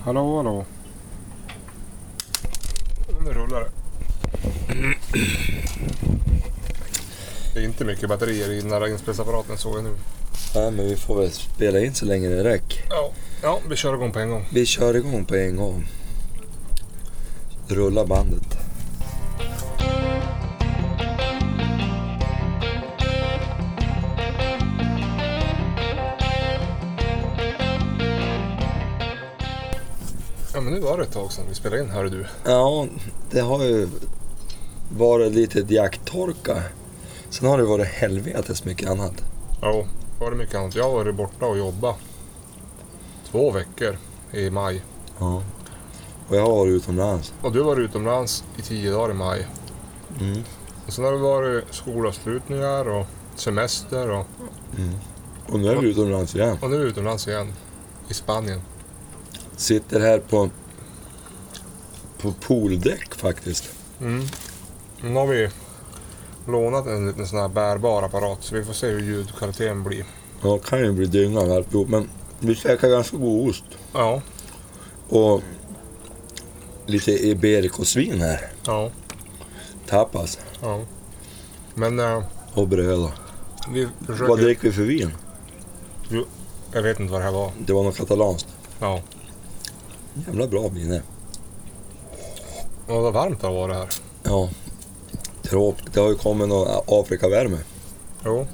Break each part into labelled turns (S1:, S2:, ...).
S1: Hallå, hallå. Nu rullar det. Det är inte mycket batterier i den här inspelningsapparaten såg jag nu.
S2: Nej, men vi får väl spela in så länge det räcker.
S1: Ja, ja vi kör igång på en gång.
S2: Vi kör igång på en gång. Rulla bandet.
S1: Ja, men nu var det ett tag sedan vi spelade in, hör du.
S2: Ja, det har ju varit lite jakttorka. Sen har det varit helvetes mycket annat.
S1: Ja, var det mycket annat. Jag har varit borta och jobbat. Två veckor i maj.
S2: Ja. Och jag har varit utomlands.
S1: Och du var utomlands i tio dagar i maj.
S2: Mm.
S1: Och sen har det varit skolavslutningar och semester och,
S2: Och nu är vi utomlands igen.
S1: och nu är vi utomlands igen. I Spanien.
S2: Sitter här på, på pooldäck faktiskt.
S1: Mm. Nu har vi lånat en liten sån här bärbar apparat så vi får se hur ljudkvaliteten blir.
S2: Ja, kan ju bli dyngan alltihop, men vi käkar ganska god ost.
S1: Ja,
S2: Och lite iberikosvin här.
S1: ja,
S2: Tapas
S1: ja. Men eh,
S2: och bröd.
S1: vi
S2: Vad
S1: försöker...
S2: dricker vi för vin?
S1: Jag vet inte vad det här var.
S2: Det var något katalanskt.
S1: Ja.
S2: Jävla bra eh. minne.
S1: Och vad varmt det har varit här.
S2: Ja. Tråkigt. Det har ju kommit någon Afrikavärme.
S1: Jo.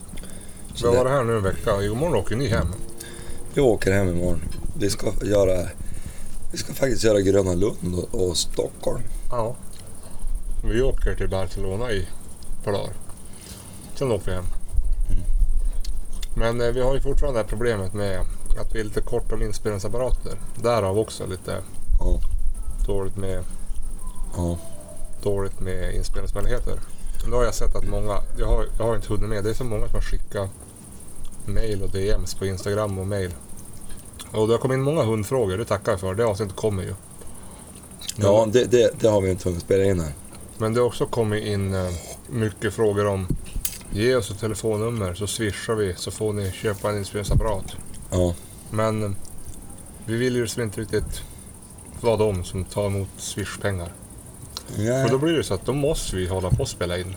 S1: Vi
S2: Så
S1: har
S2: det-
S1: varit här nu en vecka. Imorgon åker ni hem.
S2: Vi åker hem imorgon. Vi ska göra... Vi ska faktiskt göra Gröna Lund och- och Stockholm.
S1: Ja. Vi åker till Barcelona i ett par dagar. Sen åker vi hem. Men eh, vi har ju fortfarande det här problemet med att vi är lite kort om inspelningsapparater. Därav också lite
S2: Ja.
S1: dåligt med
S2: Ja.
S1: dåligt med inspelningsmöjligheter. Nu har jag sett att många, jag har, jag har inte hunnit med, det är så många som har skickat mail och DMs på Instagram och mail. Och det har kommit in många hundfrågor, det tackar jag för. Det avsnittet kommer ju.
S2: Ja, det, det, det har vi inte hunnit spela in än.
S1: Men det har också kommit in eh, mycket frågor om ge oss ett telefonnummer så swishar vi så får ni köpa en inspelningsapparat.
S2: Ja.
S1: Men eh, vi vill ju liksom inte riktigt vara de som tar emot swishpengar. Och då
S2: Nej.
S1: blir det så att då måste vi hålla på och spela in.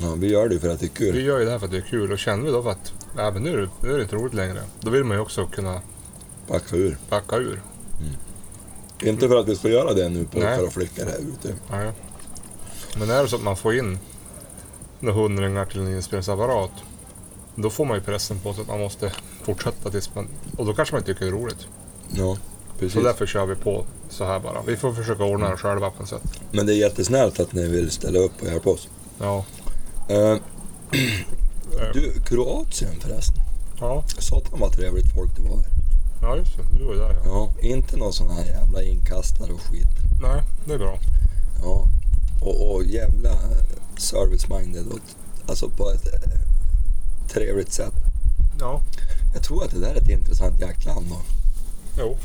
S2: Ja, vi gör det för att det är
S1: Vi
S2: kul.
S1: gör ju det här för att det är kul och känner vi då för att nej, men nu, är det- nu är det inte roligt längre. Då vill man ju också kunna
S2: Backa ur.
S1: backa ur.
S2: Inte för att vi ska göra det nu pojkar
S1: Nej.
S2: och flickor här ute.
S1: Nej. Men är det så att man får in några hundringar till en inspelningsapparat då får man ju pressen på sig att man måste fortsätta tills man... Och då kanske man inte tycker det är roligt.
S2: Ja,
S1: Så
S2: precis.
S1: därför kör vi på så här bara. Vi får försöka ordna det själva på något sätt.
S2: Men det är jättesnällt att ni vill ställa upp och hjälpa oss.
S1: Ja.
S2: Eh,
S1: Eh,
S2: du, Kroatien förresten.
S1: Ja,
S2: Satan vad trevligt folk det var. där.
S1: ja just det. Du var ju där ja.
S2: Ja, inte någon sån här jävla inkastare och skit.
S1: Nej, det är bra.
S2: Ja, och, och jävla eh, service-minded. Och, alltså på ett eh, trevligt sätt.
S1: Ja.
S2: Jag tror att det där är ett intressant jaktland då.
S1: Jo.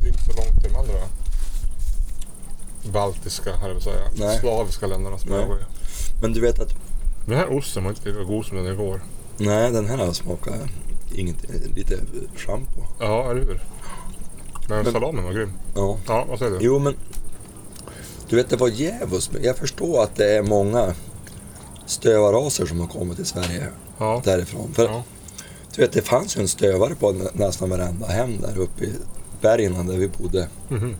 S1: Det är inte så långt till de andra baltiska, här vill säga,
S2: Nej.
S1: slaviska länderna som
S2: Nej.
S1: jag var i.
S2: Men du vet att,
S1: Den här osten var inte lika god som den igår.
S2: nej den här smakar inget, eh, lite eh, schampo.
S1: Ja, eller hur? Men,
S2: Men-
S1: salamen var grym.
S2: Ja.
S1: Ja, vad säger du?
S2: Jo, men du vet det var djävulskt. Jag förstår att det är många stövarraser som har kommit till Sverige
S1: Ja.
S2: därifrån. För
S1: Ja.
S2: du vet, det fanns ju en stövare på nä- nästan varenda hem där uppe i bergen där vi bodde.
S1: Mhm.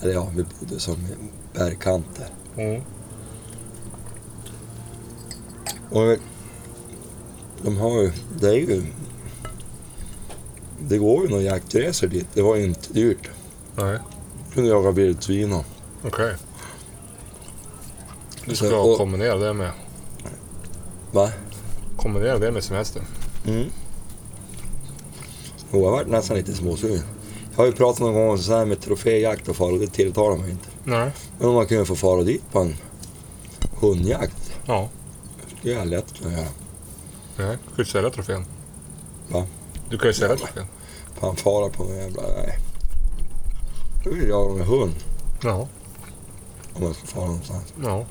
S2: Eller ja, vi bodde som i bergkanter.
S1: Mm.
S2: Och de har ju, det är ju, det går ju några jaktresor dit. Det var ju inte dyrt.
S1: Nej,
S2: Kunde jaga vildsvin och
S1: okej. Du
S2: Så,
S1: ska
S2: Alltså, och-
S1: kombinera det med
S2: va?
S1: kombinera det med semester.
S2: Mm. Jo, jag vart nästan lite småsugen. Jag har ju pratat någon gång om så här med troféjakt och fara och det tilltalar mig inte.
S1: Nej.
S2: Men om man kunde få fara dit på en hundjakt,
S1: Ja.
S2: det är lätt att göra.
S1: Nej. Du kan ju sälja trofén.
S2: Va?
S1: Du kan ju sälja trofén.
S2: Fan fara på en jävla... Nej. Då vill jag ha med hund
S1: Ja.
S2: om jag ska fara någonstans.
S1: ja.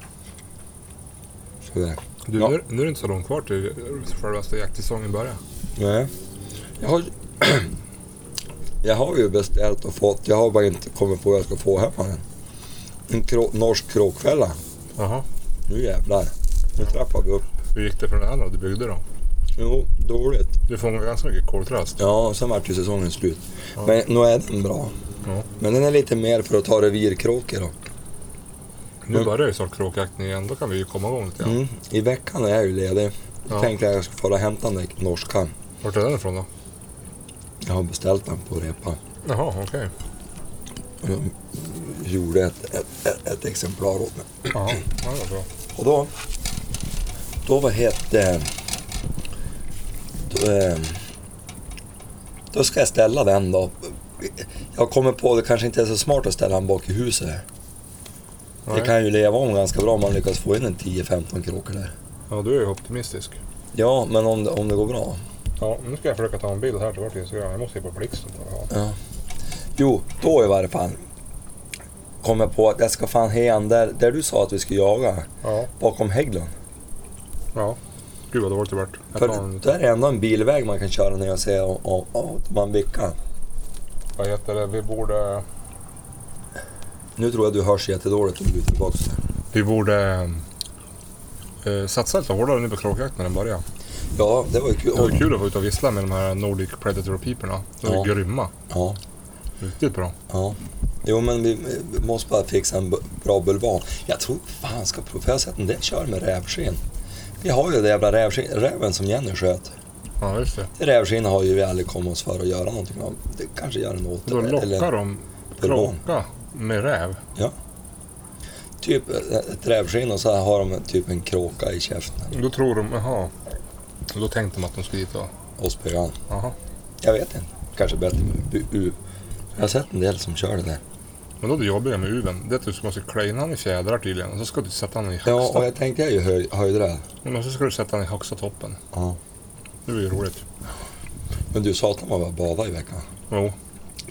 S2: Så det.
S1: Du,
S2: Ja.
S1: Nu, nu är det inte så långt kvar till självaste jaktsäsongen börjar.
S2: Nej. Jag har... Jag har ju beställt och fått, jag har bara inte kommit på vad jag ska få hemma än. En krå, norsk kråkfälla.
S1: Jaha.
S2: Nu jävlar. Nu trappar vi upp.
S1: Hur gick det för den andra du byggde då?
S2: Jo, dåligt.
S1: Du fångade ganska mycket koltrast.
S2: Ja, sen vart ju säsongen slut.
S1: Ja.
S2: Men nu är den bra.
S1: Ja.
S2: Men den är lite mer för att ta revirkråkor då.
S1: Nu börjar ju snart kråkjakten igen, då kan vi ju komma igång lite grann.
S2: Mm. I veckan är jag ju ledig.
S1: Ja.
S2: Tänkte jag skulle fara och hämta den där norskan.
S1: Vart är den ifrån då?
S2: Jag har beställt den på repa.
S1: Jaha, okej.
S2: Och de gjorde ett, ett, ett, ett exemplar åt mig.
S1: Jaha, ja, det var bra.
S2: Och då, då vad hette då, eh, då ska jag ställa den då. Jag kommer på att det kanske inte är så smart att ställa den bak i huset. Det
S1: Nej.
S2: kan ju leva om ganska bra om man lyckas få in en 10-15 kråkor där.
S1: Ja, du är ju optimistisk.
S2: Ja, men om det, om det går bra.
S1: Ja, nu ska jag försöka ta en bild här till vårt Instagram. Jag måste ju på blixten. Ja.
S2: Jo, då i varje fall kom jag på att jag ska fan hen där, där du sa att vi skulle jaga,
S1: ja,
S2: bakom hägglund.
S1: ja. Gud vad dåligt det vart. Jag
S2: För
S1: tar en,
S2: där är ändå en bilväg man kan köra när jag ser om, om, om man vickar.
S1: vad heter det? Vi borde...
S2: Nu tror jag du hörs jättedåligt om du är tillbaka.
S1: Vi borde eh, satsa lite hårdare nu på kråkjakt när den börjar.
S2: Ja, det var ju kul.
S1: Det var ju kul att få ut och vissla med de här Nordic Predator-piporna. De är
S2: Mm. Ja.
S1: grymma.
S2: Ja,
S1: Riktigt bra.
S2: ja. Jo, men vi, vi måste bara fixa en b- bra bulvan. Jag tror fan ska prova, för jag har sett en del kör med rävskinn. Vi har ju det jävla rävskinn, räven som Jenny sköt.
S1: Ja, just det.
S2: Det rävskinn har ju vi aldrig kommit oss för att göra någonting av. Det kanske gör en åter...
S1: Då lockar
S2: eller
S1: de
S2: bulvan.
S1: kråka med räv.
S2: Typ ett rävskinn och så har de typ en kråka i käften.
S1: Då tror de, jaha. Då tänkte de att de skulle dit och...
S2: Och spöan.
S1: Jaha.
S2: Jag vet inte. Kanske bättre med bu- u. Jag har sett en del som kör det där.
S1: Men då är det jobbiga med uven, det är att du ska- måste klä in han i fjädrar tydligen och så ska du sätta han i högsta.
S2: Ja, och jag tänkte jag är ju höj, höjdräv.
S1: Men så ska du sätta den i högsta toppen.
S2: Ja.
S1: Det blir ju roligt.
S2: Men du sa att man var bada i veckan.
S1: Jo,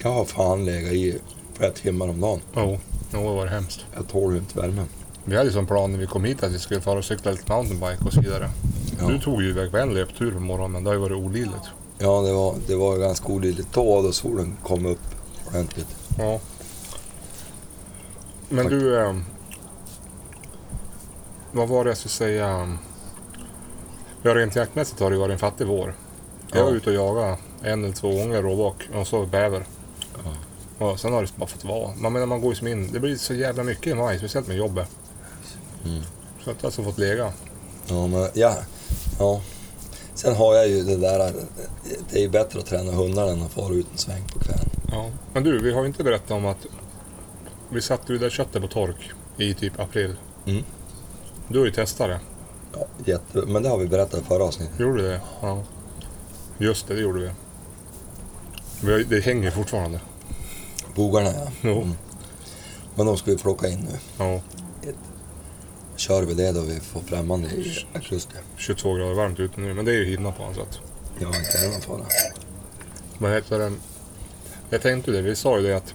S2: Jag har fan legat i flera timmar om dagen.
S1: jo, jo, det var hemskt.
S2: Jag tål ju inte värmen.
S1: Vi hade ju som plan när vi kom hit att vi skulle fara och cykla lite mountainbike och så vidare.
S2: Ja,
S1: Du tog ju iväg på en löptur på morgonen, men det har ju varit olidligt.
S2: ja det, var, det var ganska olidligt då då solen kom upp ordentligt.
S1: Ja. Men
S2: Tack.
S1: du, eh, vad var det jag skulle säga? Ja, rent jaktmässigt har det ju varit en fattig vår. Jag var
S2: Ja.
S1: ute och jagade en eller två gånger råbock och så bäver. Och sen har det bara fått vara. Man menar man går ju som in. Det blir så jävla mycket i maj, speciellt med jobbet.
S2: Mm.
S1: Så att jag har alltså fått lega.
S2: Ja, men ja, ja. Sen har jag ju det där att det är ju bättre att träna hundar än att fara ut en sväng på kvällen.
S1: Men du, vi har ju inte berättat om att vi satte ju det där köttet på tork i typ april.
S2: Mm.
S1: Du har ju testat det.
S2: Ja, jätte, men det har vi berättat i förra avsnittet.
S1: Gjorde du det? Ja. Just det, det gjorde vi. vi har, det hänger fortfarande.
S2: Bogarna ja.
S1: Jo.
S2: Mm. Men de ska vi plocka in nu.
S1: Ja,
S2: Kör vi det då vi får främmande i augusti.
S1: 22 grader varmt ute nu, men det är ju hinna på något sätt.
S2: Jag har inte någon fara.
S1: Vad heter det? Jag tänkte ju det, vi sa ju det att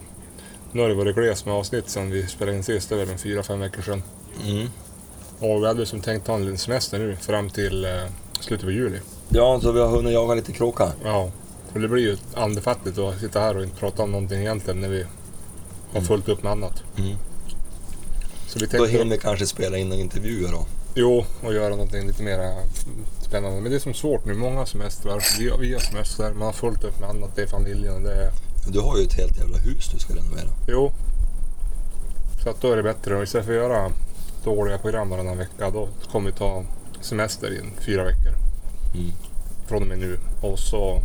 S1: nu har det varit gles med avsnitt sen vi spelade in sist, det var väl en fyra, fem veckor sedan.
S2: Mm.
S1: Och vi hade ju som tänkt ta en liten semester nu fram till eh, slutet på juli.
S2: Ja, så vi har hunnit jaga lite kråka.
S1: Ja, för det blir ju andefattigt att sitta här och inte prata om någonting egentligen när vi har fullt upp med annat.
S2: Mm.
S1: Så vi
S2: Då
S1: tänkte...
S2: hinner vi kanske spela in en intervju då.
S1: Jo, och göra någonting lite mer spännande. Men det är som svårt nu. Många semestrar, vi, vi har semestrar, man har fullt upp med annat. Det är familjen och det är...
S2: Du har ju ett helt jävla hus du ska renovera.
S1: Jo. Så att då är det bättre. Och istället för att göra dåliga program varannan vecka, då kommer vi ta semester i fyra veckor.
S2: Mm.
S1: Från och med nu. Och så...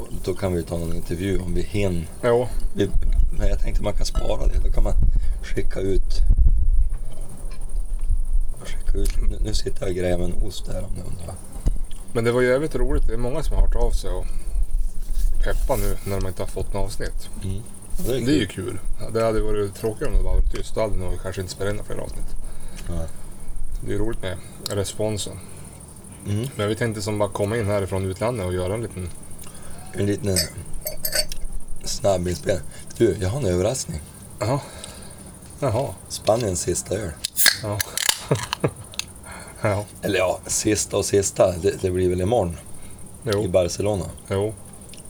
S2: Och Då kan vi ta en intervju om vi hinner.
S1: Jo,
S2: Vi, men jag tänkte man kan spara det. Då kan man skicka ut... Skicka ut. Nu, nu sitter jag och grejer med en ost här om ni undrar.
S1: men det var ju jävligt roligt. Det är många som har hört av sig och peppa nu när de inte har fått något avsnitt.
S2: Ja,
S1: Det är ju kul. Ja, Det hade varit tråkigare om det bara varit tyst. Då hade nog vi kanske inte spelat in några fler avsnitt.
S2: Nej.
S1: Det är ju roligt med responsen.
S2: Mm.
S1: Men vi tänkte som bara komma in härifrån utlandet och göra en liten...
S2: En liten eh, snabb inspelning. Du, jag har en överraskning.
S1: Jaha. Jaha.
S2: Spaniens sista öl.
S1: Ja. ja.
S2: Eller ja, sista och sista. Det, det blir väl imorgon i
S1: Jo.
S2: Barcelona.
S1: Jo.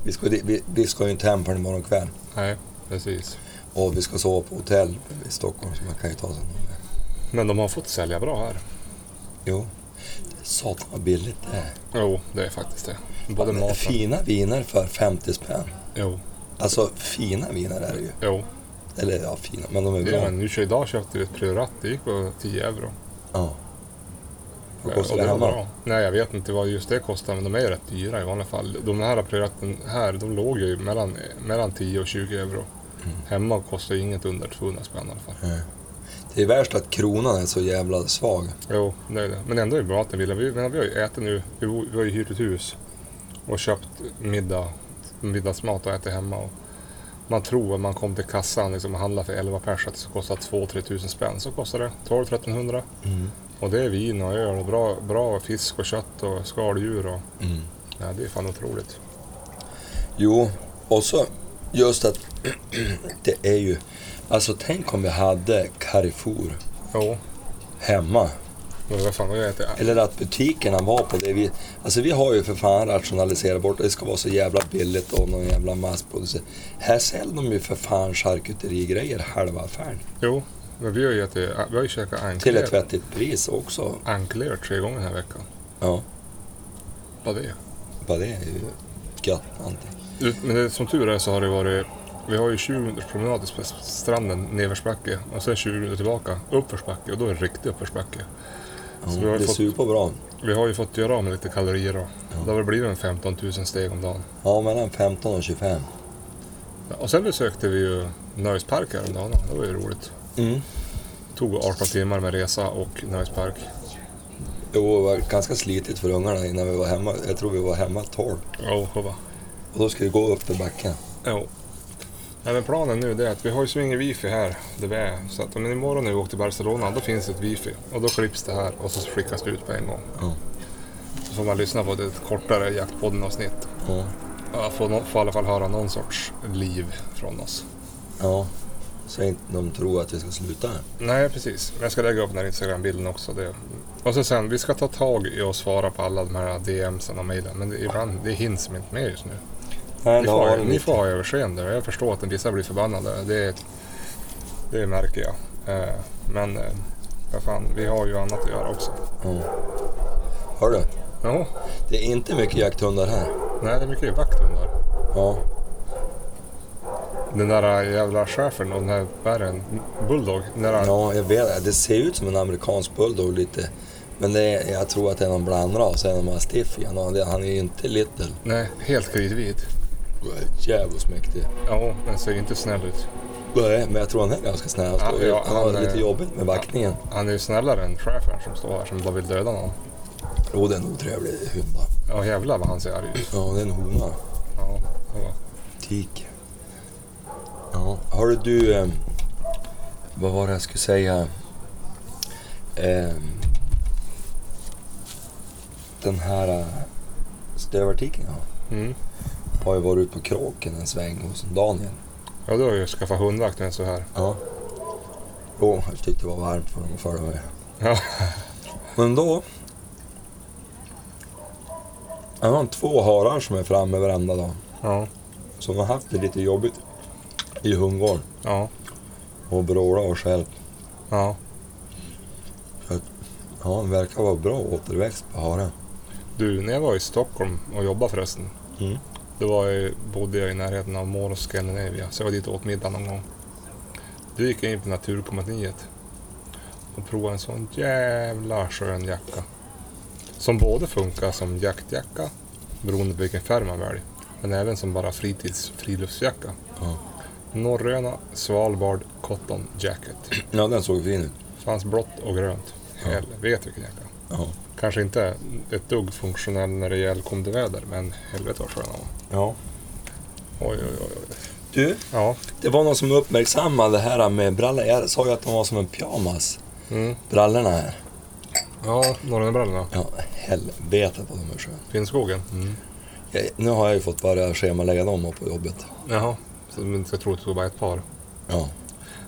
S2: Vi ska, vi, vi ska ju inte hem förrän imorgon kväll.
S1: Nej, precis.
S2: Och vi ska sova på hotell i Stockholm, så man kan ju ta sig någon där.
S1: Men de har fått sälja bra här.
S2: Jo. Satan vad billigt det är.
S1: Jo, det är faktiskt det. Både
S2: Men
S1: maten...
S2: Fina viner för 50 spänn.
S1: Jo,
S2: Alltså fina viner är det ju.
S1: jo.
S2: Eller ja, fina, men de är
S1: Ja,
S2: bra.
S1: men nu kör idag köpte vi ett priorat. Det gick på 10 euro.
S2: Ja. Vad
S1: Eh,
S2: kostar
S1: och
S2: det
S1: var
S2: hemma?
S1: bra. Nej, jag vet inte vad just det kostar, men de är ju rätt dyra i vanliga fall. De här prioraten här, de låg ju mellan, mellan 10 och 20 euro. Hemma kostar ju inget under 200 spänn i alla fall.
S2: Eh. Det är värst att kronan är så jävla svag.
S1: Jo, det är det. Men ändå är det bra att den vill. Vi, men vi har ju ätit nu, vi, bo- vi har ju hyrt ett hus och köpt middag, middagsmat och ätit hemma. Och man tror att man kom till kassan liksom, och handlade för 11 pers att det skulle kosta 2-3 tusen spänn. Så kostar det 12-1300. Och det är vin och öl och bra, bra fisk och kött och skaldjur. Och,
S2: Mm.
S1: ja, det är fan otroligt.
S2: Jo, och så just att det är ju... Alltså tänk om vi hade Carrefour
S1: Jo,
S2: hemma.
S1: men vad fan har jag ätit?
S2: Eller att butikerna var på det vi... Alltså vi har ju för fan rationaliserat bort det ska vara så jävla billigt och någon jävla massproducerat. Här säljer de ju för fan charkuterigrejer halva affären.
S1: Jo, men vi har ju ätit, vi har ju käkat
S2: Till ett
S1: ankler,
S2: vettigt pris också.
S1: ankler tre gånger den här veckan.
S2: Ja,
S1: Vad det är.
S2: bara det är ju gött någonting.
S1: Ut- Men det, som tur är så har det varit... Vi har ju 20 minuters promenad till sp- stranden, nedförsbacke. Och sen 20 minuter tillbaka, uppförsbacke. Och då är det riktig uppförsbacke.
S2: Ja,
S1: Så vi har
S2: Mm. det
S1: fått-
S2: super bra.
S1: Vi har ju fått göra av med lite kalorier då. Det har väl blivit en 15 000 steg om dagen.
S2: Ja, mellan 15 och 25.
S1: Ja, Och sen besökte vi ju nöjespark häromdagen. Det var ju roligt.
S2: Mm.
S1: Tog 18 timmar med resa och nöjespark.
S2: Jo, det var ganska slitigt för ungarna innan vi var hemma. Jag tror vi var hemma 12.
S1: Jo, sjova.
S2: Och då skulle vi gå upp för backen.
S1: Jo. Nej, men planen nu det är att vi har ju så ingen wifi här där vi är. Så att om imorgon när vi åker till Barcelona, då finns ett wifi. Och då klipps det här och så skickas det ut på en gång.
S2: Ja.
S1: Så får man lyssna på ett kortare Jaktpodden-avsnitt.
S2: Ja.
S1: Ja, Får, nå- får i alla fall höra någon sorts liv från oss.
S2: ja. Så inte de tror att vi ska sluta.
S1: Nej, precis. Men Jag ska lägga upp den här Instagram-bilden också. Det. Och så sen, vi ska ta tag i och svara på alla de här DMsen och mejlen. Men det, ibland, det hinns inte med just nu.
S2: Nej,
S1: Ni
S2: det
S1: får,
S2: har
S1: ni
S2: inte.
S1: får ha överseende. Jag förstår att vissa blir förbannade. Det, det märker jag. Eh, Men eh, vad fan, vi har ju annat att göra också.
S2: Ja. Hör du?
S1: Jo,
S2: Det är inte mycket jakthundar här.
S1: nej, det är mycket vakthundar.
S2: Ja.
S1: Den där eh, jävla chefen och den här bären, Bulldog. Den där,
S2: Ja, jag vet. Det ser ut som en amerikansk bulldog lite. Men det är, jag tror att det är någon blandras, en av de här stiffiga. Han är- han är ju inte little.
S1: Nej, helt kritvit.
S2: Jävligt mäktig.
S1: Ja, den ser inte snäll ut.
S2: Nej, men jag tror han är ganska snäll. Han,
S1: Ja, ja,
S2: han har
S1: han är-
S2: lite jobbigt med vaktningen.
S1: Han är ju snällare än chefen som står här som bara vill döda någon.
S2: Jo, det är en otrevlig hunda.
S1: Ja, jävlar vad han ser arg ut.
S2: Ja, det är en hona.
S1: Ja, ja.
S2: Tik. Ja, har du... ehm, vad var det jag skulle säga? Ehm, den här eh, stövartiken ja.
S1: Mm.
S2: har ju varit ute på kråken en sväng hos Daniel.
S1: ja, du har ju skaffat hundvakt när så här.
S2: Ja. Jo, jag tyckte det var varmt för honom att följa med.
S1: Ja.
S2: Men då... Jag har två harar som är framme varenda dag.
S1: Ja,
S2: Som har haft det lite jobbigt i hundgården.
S1: ja,
S2: Och brålar och skälp.
S1: ja.
S2: Ja, den verkar vara bra återväxt på haren.
S1: Du, när jag var i Stockholm och jobbade förresten.
S2: Mm.
S1: Då var jag, bodde jag i närheten av Mall of Scandinavia, så jag var dit och åt middag någon gång. Då gick jag in på Naturkompaniet och provade en sån jävla skön jacka. Som både funkar som jaktjacka, beroende på vilken färg man väljer, men även som bara fritids friluftsjacka.
S2: Ja.
S1: Norröna Svalbard Cotton Jacket.
S2: Ja, den såg fin ut.
S1: Fanns blått och grönt.
S2: Ja.
S1: Helvete vilken jacka.
S2: Ja.
S1: Kanske inte ett dugg funktionell när det gäller kom till väder, men helvete vad skön han var.
S2: ja.
S1: Oj, oj, oj, oj.
S2: Du,
S1: Ja.
S2: det var någon som uppmärksammade det här med brallor. Jag sa ju att de var som en pyjamas,
S1: Mm.
S2: brallorna här.
S1: Ja, Norrlandsbrallorna.
S2: Ja, helvete vad de är sköna.
S1: Finnskogen.
S2: Jag- Nu har jag ju fått börja schemalägga dem på jobbet.
S1: Jaha. Så man inte ska tro att det var bara ett par.
S2: Ja.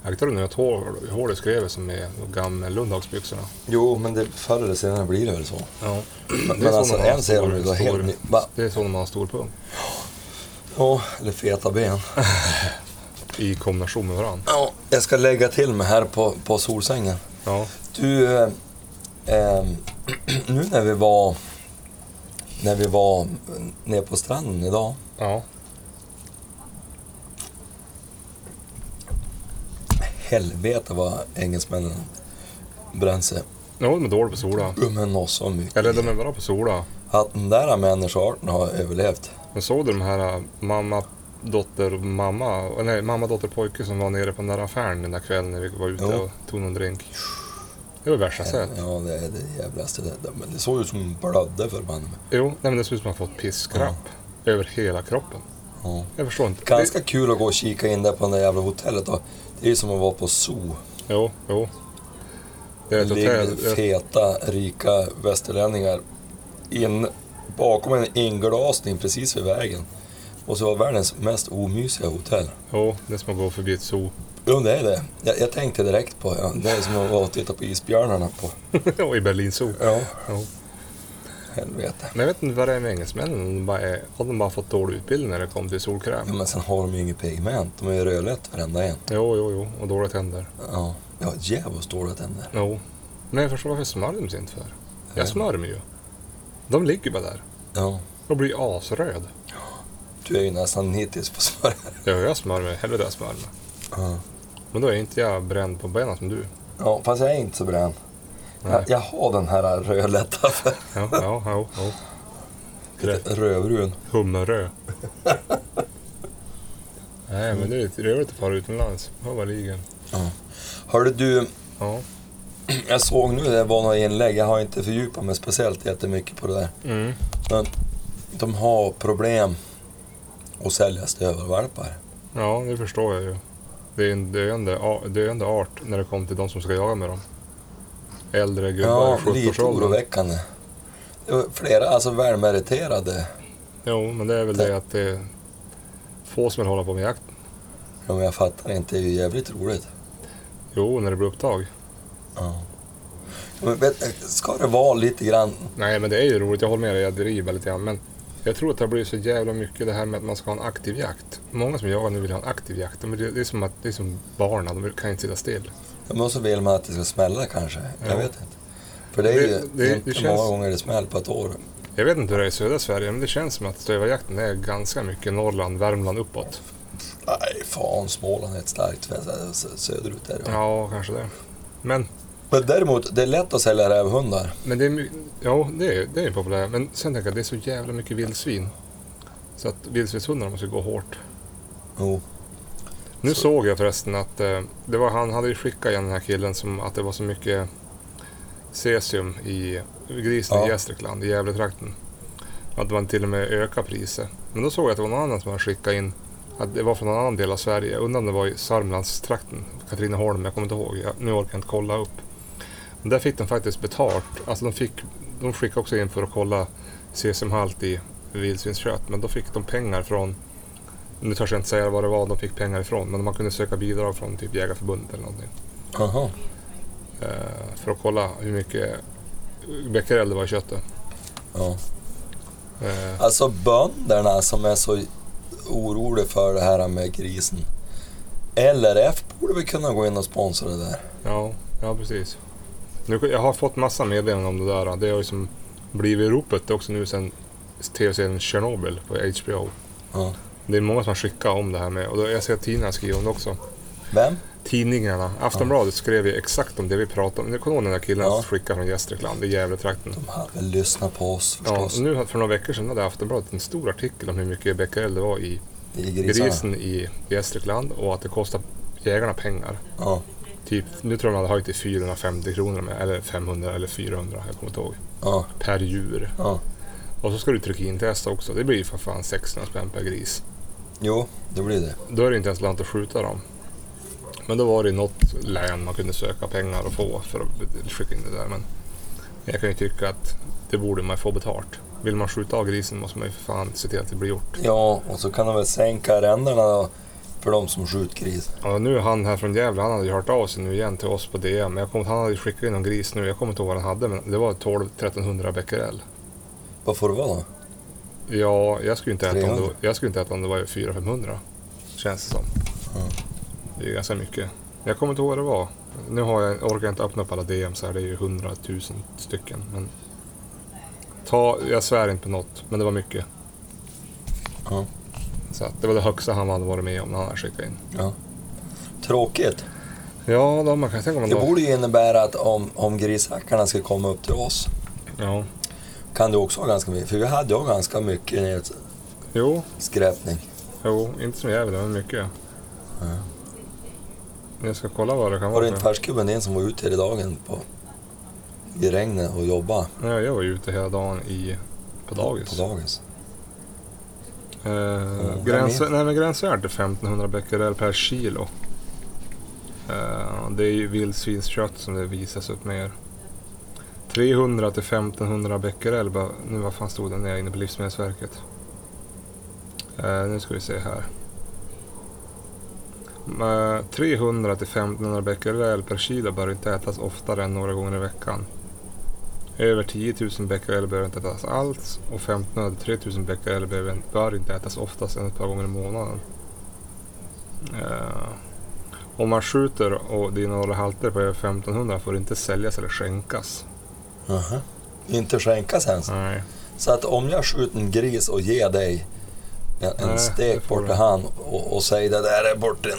S1: Jag tror nu att hår- hålet skrev som är de gamla Lundhagsbyxorna.
S2: Jo, men det, förr eller senare blir det väl så.
S1: Ja.
S2: Men alltså, än ser de ut att vara helt ny- Va?
S1: Det är så när man har stor pung.
S2: Ja, eller feta ben.
S1: i kombination med varandra.
S2: Ja, jag ska lägga till mig här på, på Solsängen.
S1: Ja.
S2: Du, eh, eh, nu när vi var när vi var nere på stranden idag.
S1: ja.
S2: Helvete vad engelsmännen brände sig. um
S1: Jo, de är dåliga på sola.
S2: Men något så mycket.
S1: Eller de är bra på sola.
S2: Att den där människoarten har överlevt.
S1: Men såg du de här äh, mamma, dotter, mamma, äh, nej mamma, dotter, pojke som var nere på den där affären den där kvällen när vi var ute
S2: Jo.
S1: och tog någon drink? Det var det värsta jag
S2: Ja,
S1: sett.
S2: det är det jävlaste. Det, det- men det såg ut som en blödde förbanne mig.
S1: Jo, nej, men det ser ut som att man fått piskrapp över hela kroppen.
S2: Ja.
S1: Jag förstår inte.
S2: Ganska kul att gå och kika in där på det där jävla hotellet då. Det är ju som att vara på zoo.
S1: Det, jo, jo. Det är ett hotell.
S2: ligger
S1: Det,
S2: feta, rika västerlänningar in, bakom en inglasning precis vid vägen. Och så var världens mest omysiga hotell.
S1: jo, det är som att gå förbi ett zoo.
S2: Jo, det är det. Jag, jag tänkte direkt på ja, det. är som att vara och titta på isbjörnarna på...
S1: Och I Berlin zoo.
S2: Ja,
S1: Jo.
S2: helvete.
S1: Men jag vet inte vad det är med engelsmännen. De bara är, har de bara fått dålig utbildning när det kom till solkräm?
S2: Ja, men sen har de ju inget pigment. De är ju rödlätt varenda en.
S1: Jo, jo, jo. Och dåliga tänder.
S2: Ja, ja djävulskt dåliga tänder.
S1: Jo. Men jag förstår varför smörjer de sig inte för. Jag
S2: vet
S1: smörjer mig ju. De ligger bara där
S2: Ja,
S1: och blir asröd.
S2: du är ju nästan hittills på smörjan.
S1: Ja, jag smörjer mig. Hellre det jag smörjer mig.
S2: Ja.
S1: Men då är inte jag bränd på benen som du.
S2: ja, fast jag är inte så brän.
S1: Nej.
S2: Jag, jag har den här rödlätta
S1: Ja, ja, ja. ja. Rätt.
S2: rödbrun.
S1: Hummerö. Nej, men det är lite roligt att fara utomlands. Hövaligen.
S2: Hörde du,
S1: Ja.
S2: jag såg nu det var några inlägg, jag har inte fördjupat mig speciellt jättemycket på det där.
S1: Mm.
S2: Men de har problem att sälja stövelvalpar.
S1: Ja, det förstår jag ju. Det är en döende, a- döende art när det kommer till de som ska jaga med dem. Äldre gubbar
S2: Ja,
S1: i
S2: lite
S1: 70-årsåldern.
S2: oroväckande. Det var Flera alltså välmeriterade,
S1: Jo, men det är väl det att det är få som vill hålla på med jakt.
S2: ja, men jag fattar inte, det är ju jävligt roligt.
S1: Jo, när det blir upptag.
S2: Ja. Men vet, ska det vara lite grann,
S1: Nej, men det är ju roligt. Jag håller med dig, jag driver lite grann. Men jag tror att det har blivit så jävla mycket det här med att man ska ha en aktiv jakt. Många som jagar nu vill ha en aktiv jakt. De, det, är som att, det är som barnen, de kan inte sitta still.
S2: men så vill man att det ska smälla kanske,
S1: Ja.
S2: jag vet inte. För det är ju
S1: Det- det- det
S2: inte
S1: känns-
S2: många gånger det smäller på ett år.
S1: Jag vet inte hur det är i södra Sverige, men det känns som att stövarjakten är ganska mycket Norrland, Värmland uppåt.
S2: Nej, fan, Småland är ett starkt fäste, sö- söderut är det.
S1: Ja, kanske det. Men
S2: Men däremot, det är lätt att sälja rävhundar.
S1: Men det är, my- ja, det är, det är populärt. Men sen tänker jag att det är så jävla mycket vildsvin. Så att vildsvinshundarna måste gå hårt.
S2: Jo.
S1: Nu
S2: Så-
S1: såg jag förresten att eh, det var, han hade ju skickat igen den här killen som att det var så mycket cesium i grisen
S2: Ja.
S1: i Gästrikland, i Gävletrakten. Att man till och med ökar priset. Men då såg jag att det var någon annan som hade skickat in att det var från någon annan del av Sverige. Jag undrar om det var i Sörmlandstrakten, Katrineholm, jag kommer inte ihåg. Jag, nu orkar jag inte kolla upp. Men där fick de faktiskt betalt. Alltså de, fick, de skickade också in för att kolla cesiumhalt i vildsvinskött. Men då fick de pengar från, nu törs jag inte säga vad det var de fick pengar ifrån, men man kunde söka bidrag från typ Jägarförbundet eller någonting.
S2: Aha.
S1: Eh, för att kolla hur mycket becquerel det var i köttet.
S2: Ja.
S1: Eh,
S2: Alltså bönderna som är så oroliga för det här med grisen. LRF borde väl kunna gå in och sponsra det där.
S1: ja, ja, precis. Nu, jag har fått massa meddelanden om det där. Det har ju som blivit ropet också nu sedan tv-serien Chernobyl på HBO.
S2: Ja.
S1: Det är många som har skickat om det här med, och då, jag ser att tidningarna skriver om det också.
S2: Vem?
S1: tidningarna. Aftonbladet skrev ju exakt om det vi pratade om. Nu kommer du ihåg den där killen
S2: Ja.
S1: som skickade från Gästrikland i Gävletrakten.
S2: De hade väl lyssnat på oss
S1: Ja, och
S2: förstås.
S1: nu för några veckor sedan hade Aftonbladet en stor artikel om hur mycket becquerel det var i
S2: I grisarna.
S1: grisen i Gästrikland och att det kostar jägarna pengar.
S2: Ja.
S1: Typ, nu tror jag de hade höjt till 450 kronor, med, eller 500 eller 400, jag kommer inte ihåg,
S2: Ja.
S1: per djur.
S2: Ja.
S1: Och så ska du trycka in testa också. Det blir ju för fan 600 spänn per gris.
S2: Jo, det blir det.
S1: Då är det inte ens lönt att skjuta dem. Men då var det något län man kunde söka pengar och få för att skicka in det där. Men jag kan ju tycka att det borde man få betalt. Vill man skjuta av grisen måste man ju för fan se till att det blir gjort.
S2: Ja, och så kan de väl sänka arrenderna då för de som skjuter gris.
S1: Ja, nu är han här från Gävle, han hade ju hört av sig nu igen till oss på DM. Men Jag kom, han hade ju skickat in någon gris nu, jag kommer inte ihåg vad han hade men det var 12-1300 becquerel.
S2: Vad får det vara då?
S1: Ja, jag skulle inte äta om det, var-
S2: 300.
S1: jag skulle inte äta om det var 400-500. Känns det som.
S2: Ja.
S1: Det är ganska mycket. Jag kommer inte ihåg vad det var. Nu har jag, orkar jag inte öppna upp alla DMs här. Det är ju 100 000 stycken. Men ta, jag svär inte på något, men det var mycket.
S2: Ja.
S1: Så att det var det högsta han hade varit med om när han hade skickat in.
S2: Ja. Tråkigt.
S1: Ja, då man kan tänka om
S2: Det
S1: man då...
S2: borde ju innebära att om, om grishackarna ska komma upp till oss
S1: Ja.
S2: kan det också ha ganska mycket. För vi hade ju ganska mycket
S1: Jo,
S2: skräpning.
S1: jo, inte som jävel, men mycket.
S2: Ja.
S1: Jag ska kolla vad det kan
S2: Var det
S1: vara.
S2: inte
S1: för-
S2: färskgubben din som var ute hela dagen på, i regnet och jobbade
S1: Nej, jag var ju ute hela dagen i, på dagis.
S2: på dagis?
S1: Eh,
S2: Mm.
S1: gräns, nej, men gränsvärdet är 1500 becquerel per kilo. Eh, det är ju vildsvinskött som det visas upp mer. 300 till 1500 becquerel. bara- Nu vad fan stod det när jag är inne på Livsmedelsverket? Eh, nu ska vi se här. Eh, 300 till 1500 becquerel per kilo bör inte ätas oftare än några gånger i veckan. Över 10 000 becquerel behöver inte ätas alls och 1500 till 3 000 becquerel behöver- bör inte ätas oftast än ett par gånger i månaden. Eh, om man skjuter och det innehåller halter på över 1500 får det inte säljas eller skänkas.
S2: Aha. Inte skänkas ens.
S1: Nej.
S2: Så att om jag skjuter en gris och ger dig en,
S1: Nej,
S2: en
S1: det
S2: stek
S1: får
S2: bort
S1: du.
S2: till han och, och säger det där är bort en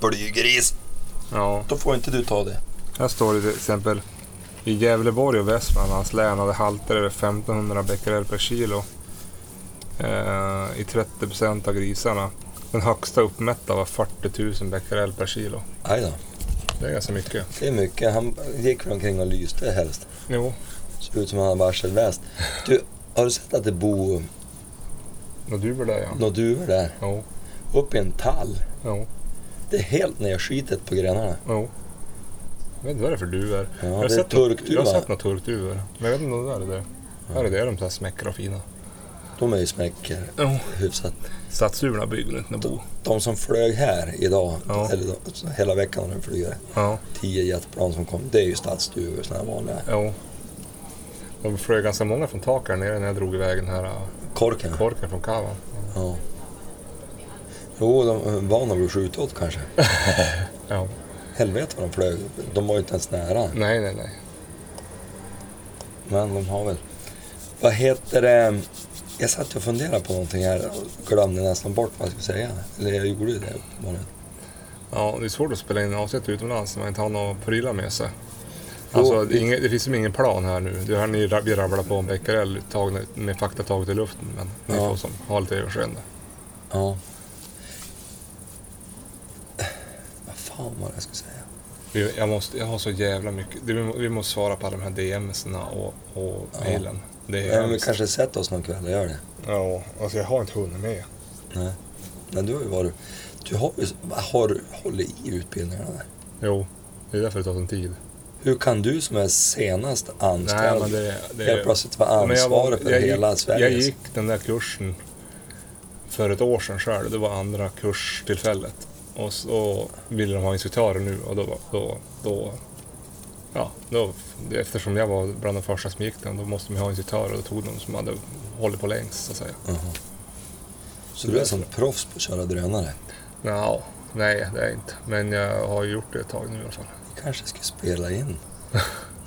S2: blygris.
S1: Ja.
S2: Då får inte du ta det.
S1: Här står det till exempel i Gävleborg och Västmanlands län hade halter över 1500 becquerel per kilo eh, i 30 procent av grisarna. Den högsta uppmätta var 40 000 becquerel per kilo.
S2: Aj då.
S1: Det är ganska mycket.
S2: Det är mycket. Han gick väl omkring och lyste helst.
S1: Jo,
S2: Såg ut som han hade varselväst. Du, har du sett att det bor
S1: och du var där ja.
S2: några duvor där?
S1: Jo,
S2: Uppe i en tall.
S1: jo,
S2: Det är helt nerskitet på grenarna.
S1: jo. Jag vet inte vad det är för duvor.
S2: Ja,
S1: jag, har
S2: det är
S1: sett några- jag har
S2: turkduva.
S1: sett några turkduvor. Men jag vet inte om det där är det. Här är det de där smäckra och fina.
S2: De är ju smäcker
S1: Jo.
S2: hyfsat.
S1: Stadsduvorna bygger inte något bo.
S2: De som flög här idag,
S1: Ja.
S2: eller de, hela veckan när de flyger,
S1: Ja,
S2: tio jetplan som kom, det är ju stadsduvor, såna här vanliga.
S1: jo. De flög ganska många från taket här nere när jag drog iväg den här äh,
S2: Korken.
S1: korken från kavan.
S2: Ja. Jo, de är vana vid att skjuta åt kanske.
S1: Ja.
S2: Helvete vad de flög. De var ju inte ens nära.
S1: Nej, nej, nej.
S2: Men de har väl... Vad heter det? Jag satt och funderade på någonting här och glömde nästan bort vad jag skulle säga. Eller jag gjorde ju det uppenbarligen.
S1: Ja, det är svårt att spela in avsnitt utomlands när man inte har några prylar med sig. Alltså, det, är inget, det finns som ingen plan här nu. Det här ni rab- vi rabblar på om becquerel tagna- med fakta taget i luften. Men ni
S2: Ja.
S1: får som, ha lite överseende.
S2: Ja. Vad fan var det jag skulle säga?
S1: Vi- Jag, måste, jag har så jävla mycket. det- Vi, må- vi måste svara på alla de här DMs'na och, och
S2: Ja.
S1: mailen. Det är
S2: Ja, men vi
S1: hemskt.
S2: kanske sätter oss någon kväll och gör det.
S1: Ja, alltså jag har inte hunnit med.
S2: Nej. Men du har ju varit... Du har ju... Har, du- håller i utbildningarna där.
S1: Jo, det är därför det tar sån tid.
S2: Hur kan du som är senast anställd
S1: men det, det
S2: helt plötsligt vara
S1: Men jag var-
S2: ansvarig för
S1: jag
S2: hela
S1: gick,
S2: Sverige?
S1: Jag gick den där kursen för ett år sedan själv. Det var andra kurstillfället. Och så ville de ha instruktörer nu och då, var- då, då Ja, då, eftersom jag var bland de första som gick den, då måste man ju ha instruktörer och då tog de som hade hållit på längst så att säga.
S2: Jaha. Så du är som proffs på att köra drönare?
S1: Nå, nej, det är jag inte. Men jag har ju gjort det ett tag nu i alla fall.
S2: Vi kanske ska spela in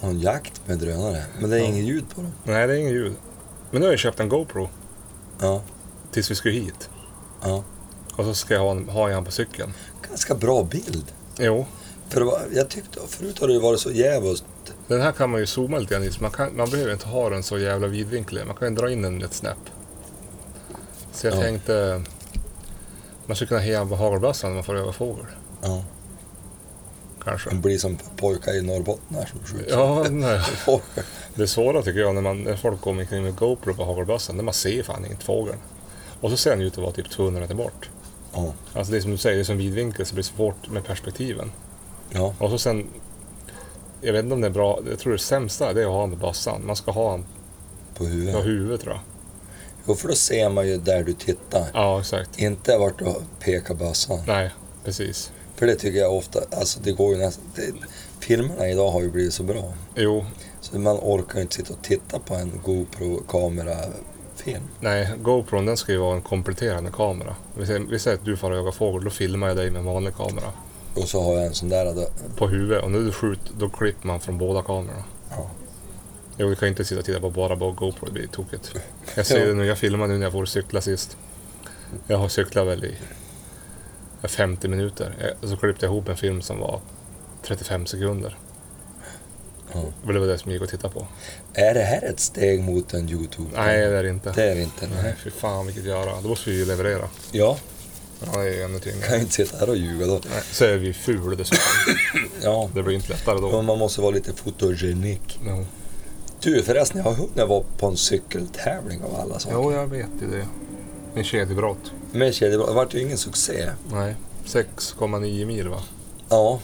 S2: någon jakt med drönare. Men det är
S1: Ja.
S2: inget ljud på dem.
S1: Nej, det är ingen ljud. Men nu har jag köpt en GoPro
S2: Ja,
S1: tills vi ska hit.
S2: ja.
S1: Och så ska jag ha, en, ha jag han på cykeln.
S2: Ganska bra bild.
S1: Jo,
S2: För det var, jag tyckte, förut har det ju varit så djävulskt.
S1: den här kan man ju zooma lite grann i. så Man, kan, man behöver inte ha den så jävla vidvinklig. Man kan ju dra in den ett snäpp. Så jag
S2: Ja.
S1: tänkte... Man skulle kunna heja på hagelbössan när man får öva fågel.
S2: Ja.
S1: Kanske.
S2: Man blir som pojkar i Norrbotten här som skjuter.
S1: Ja, nej.
S2: Och
S1: Det svåra tycker jag när, man, när folk går omkring med GoPro på hagelbössan, när man ser fan inte fågeln. Och så ser den ut att vara typ 200 meter bort.
S2: Ja.
S1: Alltså det är som du säger, det är som vidvinkel så det blir svårt med perspektiven.
S2: Ja,
S1: Och så sen, jag vet inte om det är bra, jag tror det sämsta det är att ha honom på bössan. Man ska ha honom
S2: på
S1: på
S2: huvudet.
S1: huvudet tror jag.
S2: Jo, för då ser man ju där du tittar.
S1: Ja, exakt.
S2: Inte vart du pekar bössan.
S1: Nej, precis.
S2: För det tycker jag ofta, alltså det går ju nästan... Det, filmerna idag har ju blivit så bra.
S1: Jo,
S2: Så man orkar ju inte sitta och titta på en GoPro-kamera film.
S1: Nej, GoPron den ska ju vara en kompletterande kamera. Vi säger, vi säger att du får jaga fågel, då filmar jag dig med en vanlig kamera
S2: Och så har jag en sån där. Då,
S1: på huvudet. Och när du skjuter, då klipper man från båda kamerorna.
S2: ja.
S1: Jo, vi kan inte sitta och titta på bara på GoPro, det blir tokigt. Jag ser det nu, jag filmar nu när jag får cykla sist. Jag har cyklat väl i 50 minuter. Jag- Så klippte jag ihop en film som var 35 sekunder.
S2: Ja.
S1: Och Det var det som gick att titta på.
S2: Är det här ett steg mot en Youtube?
S1: Nej, det är det inte.
S2: Det är det inte. Nej.
S1: Nej, fy fan vilket göra. Då måste vi ju leverera.
S2: Ja,
S1: Ja, det är ju ännu tyngre.
S2: kan ju inte sitta här och ljuga då.
S1: Nej, Så är vi ful dessutom.
S2: Ja,
S1: Det blir inte lättare då.
S2: men man måste vara lite fotogenik.
S1: Jo,
S2: Du förresten, jag har hört när jag var på en cykeltävling av alla saker.
S1: jo jag vet ju det. En kedjebrott.
S2: Men kedjor, det vart ju ingen succé.
S1: Nej, 6,9 mil va?
S2: Ja,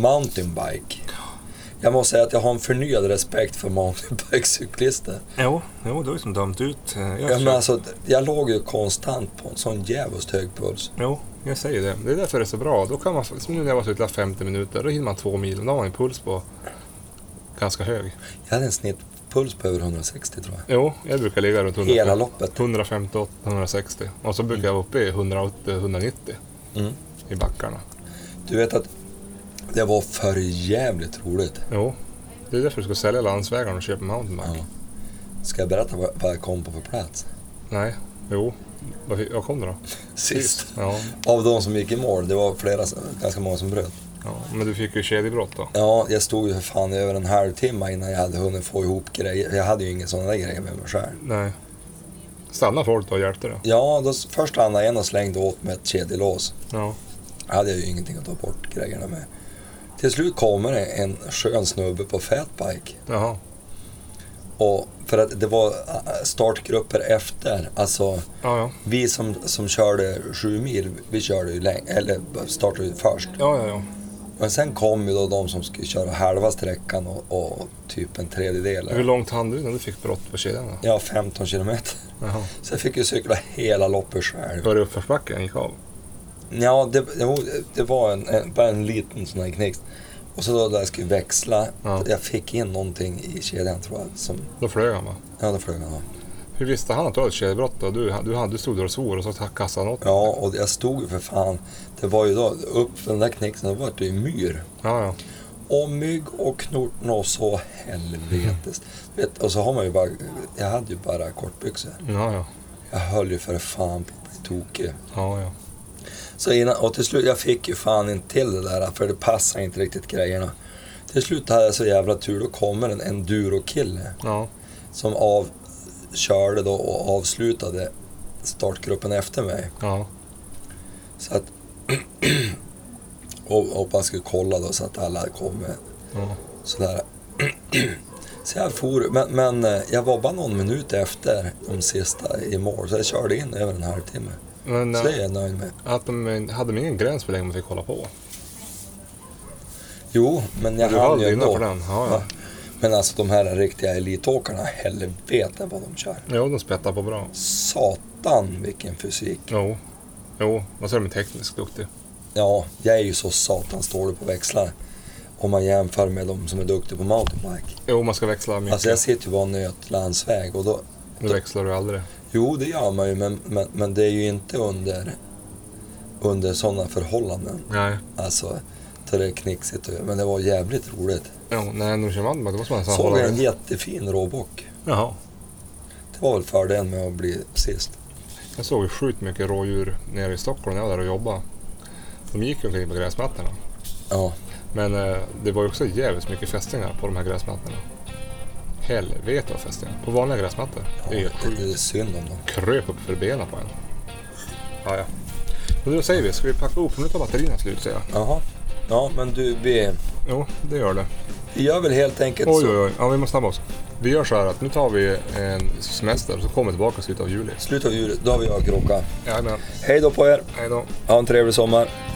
S2: mountainbike. Jag måste säga att jag har en förnyad respekt för mountainbike-cyklister.
S1: Jo, jo du är som dömt ut. eh, Jag
S2: Ja, men alltså, jag låg ju konstant på en sån djävulskt hög puls.
S1: Jo, jag säger det. Det är därför det är så bra. Då kan man, som nu när jag var ute och cyklade 50 minuter, då hinner man två mil. Men Då har man en puls på ganska hög.
S2: Jag hade en snittpuls på över 160 tror jag.
S1: Jo, jag brukar ligga runt
S2: Hela
S1: 150,
S2: loppet.
S1: 158, 160. Och så brukar jag vara uppe i 180, 190
S2: Mm.
S1: i backarna.
S2: Du vet att det var för jävligt roligt.
S1: Jo, det är därför du ska sälja landsvägarna och köpa mountainbike.
S2: Ja. Ska jag berätta vad vad jag kom på för plats?
S1: Nej, jo. Vad fick- Vad kom det då?
S2: Sist.
S1: Ja,
S2: Av de som gick i mål, det var flera, ganska många som bröt.
S1: ja, men du fick ju kedjebrott då.
S2: Ja, jag stod ju för fan i över en halvtimme innan jag hade hunnit få ihop grejer. Jag hade ju inga sådana där grejer med mig själv.
S1: Nej. Stannade folk då och hjälpte det?
S2: Ja, då s- först landade en och slängde åt mig ett kedjelås.
S1: Ja.
S2: hade jag ju ingenting att ta bort grejerna med. Till slut kommer det en skön snubbe på fatbike.
S1: Jaha.
S2: Och för att det var äh, startgrupper efter. Alltså,
S1: Ja, ja.
S2: vi som, som körde sju mil, vi körde ju läng- eller startade ju först.
S1: Ja, ja, ja.
S2: Men sen kom ju då de som skulle köra halva sträckan och, och typ en tredjedel.
S1: Hur långt hann du när du fick brott på kedjan då?
S2: Ja, 15 kilometer.
S1: Jaha.
S2: Så jag fick ju cykla hela loppet själv.
S1: Var det uppförsbacken gick av?
S2: Ja, det, jo, det var en, en, bara en liten sån här knixt. Och så då där jag skulle växla.
S1: Ja.
S2: Jag fick in någonting i kedjan tror jag. Som,
S1: Då flög han va?
S2: ja, då flög han av.
S1: Hur visste han att du hade ett kedjebrott då? Du, du, hade- du stod där och svor och så kastade han åt dig.
S2: Ja, och jag stod ju för fan. Det var ju då upp för den där knixen, då var det ju myr.
S1: Ja, ja.
S2: Och mygg och knorten och så helvetes. Du Vet, och så har man ju bara, jag hade ju bara kortbyxor.
S1: Ja, ja.
S2: Jag höll ju för fan på att bli tokig.
S1: Ja, ja.
S2: Så innan, och till slut, jag fick ju fan inte till det där för det passade inte riktigt grejerna. Till slut hade jag så jävla tur, då kommer en enduro-kille
S1: Ja,
S2: som av, körde då och avslutade startgruppen efter mig.
S1: ja.
S2: Så att, och, och man skulle kolla då så att alla kom med
S1: ja.
S2: sådär. Så jag for, men, men eh, jag var bara någon minut efter de sista i mål, så jag körde in över en halvtimme.
S1: Men
S2: Så det är
S1: äh,
S2: jag nöjd med.
S1: att de, hade de ingen gräns för hur länge man fick hålla på?
S2: Jo, men jag
S1: Du
S2: hann
S1: höll
S2: ju
S1: dig
S2: ändå.
S1: innanför den? Ja, ja.
S2: Ja. Men alltså de här riktiga elitåkarna, helvete vad de kör.
S1: Jo, de spettar på bra.
S2: Satan vilken fysik.
S1: Jo. Jo, och så är de tekniskt duktiga.
S2: Ja, jag är ju så satans dålig på växlar. Om man jämför med de som är duktiga på mountainbike.
S1: Jo, man ska växla mycket.
S2: Alltså jag sitter ju bara och nöt landsväg och då...
S1: Nu växlar du aldrig.
S2: Jo, det gör man ju, men, men, men det är ju inte under, under sådana förhållanden.
S1: Nej.
S2: Alltså, så det är knixigt. och- Men det var jävligt roligt.
S1: Jo, nej, när du kör mountainbike då måste man nästan
S2: Såg
S1: hålla
S2: jag en
S1: dig.
S2: jättefin råbock.
S1: Jaha.
S2: Det var väl fördelen med att bli sist.
S1: Jag såg ju sjukt mycket rådjur nere i Stockholm när jag var där och jobbade. De gick ju omkring på gräsmattorna.
S2: Ja,
S1: Men eh, det var ju också jävligt mycket fästingar på de här gräsmattorna. Helvete vad fästingar. På vanliga gräsmattor.
S2: ja
S1: Det är helt
S2: det,
S1: sjukt.
S2: det är synd om dem.
S1: Kröp upp för benen på en. Ja, ja. Men då säger vi, ska vi packa ihop? För Nu tar batterierna slut säger jag.
S2: Jaha. Ja, men du, vi,
S1: Jo, det gör det.
S2: vi gör väl helt enkelt
S1: Oj,
S2: så.
S1: oj, oj. Ja, vi måste snabba oss. Vi gör så här att nu tar vi en semester så kommer vi tillbaka i slutet av juli.
S2: Slut av juli, då har vi jag krocka.
S1: Jajamän.
S2: Hej då på er,
S1: Hej då.
S2: ha en trevlig sommar.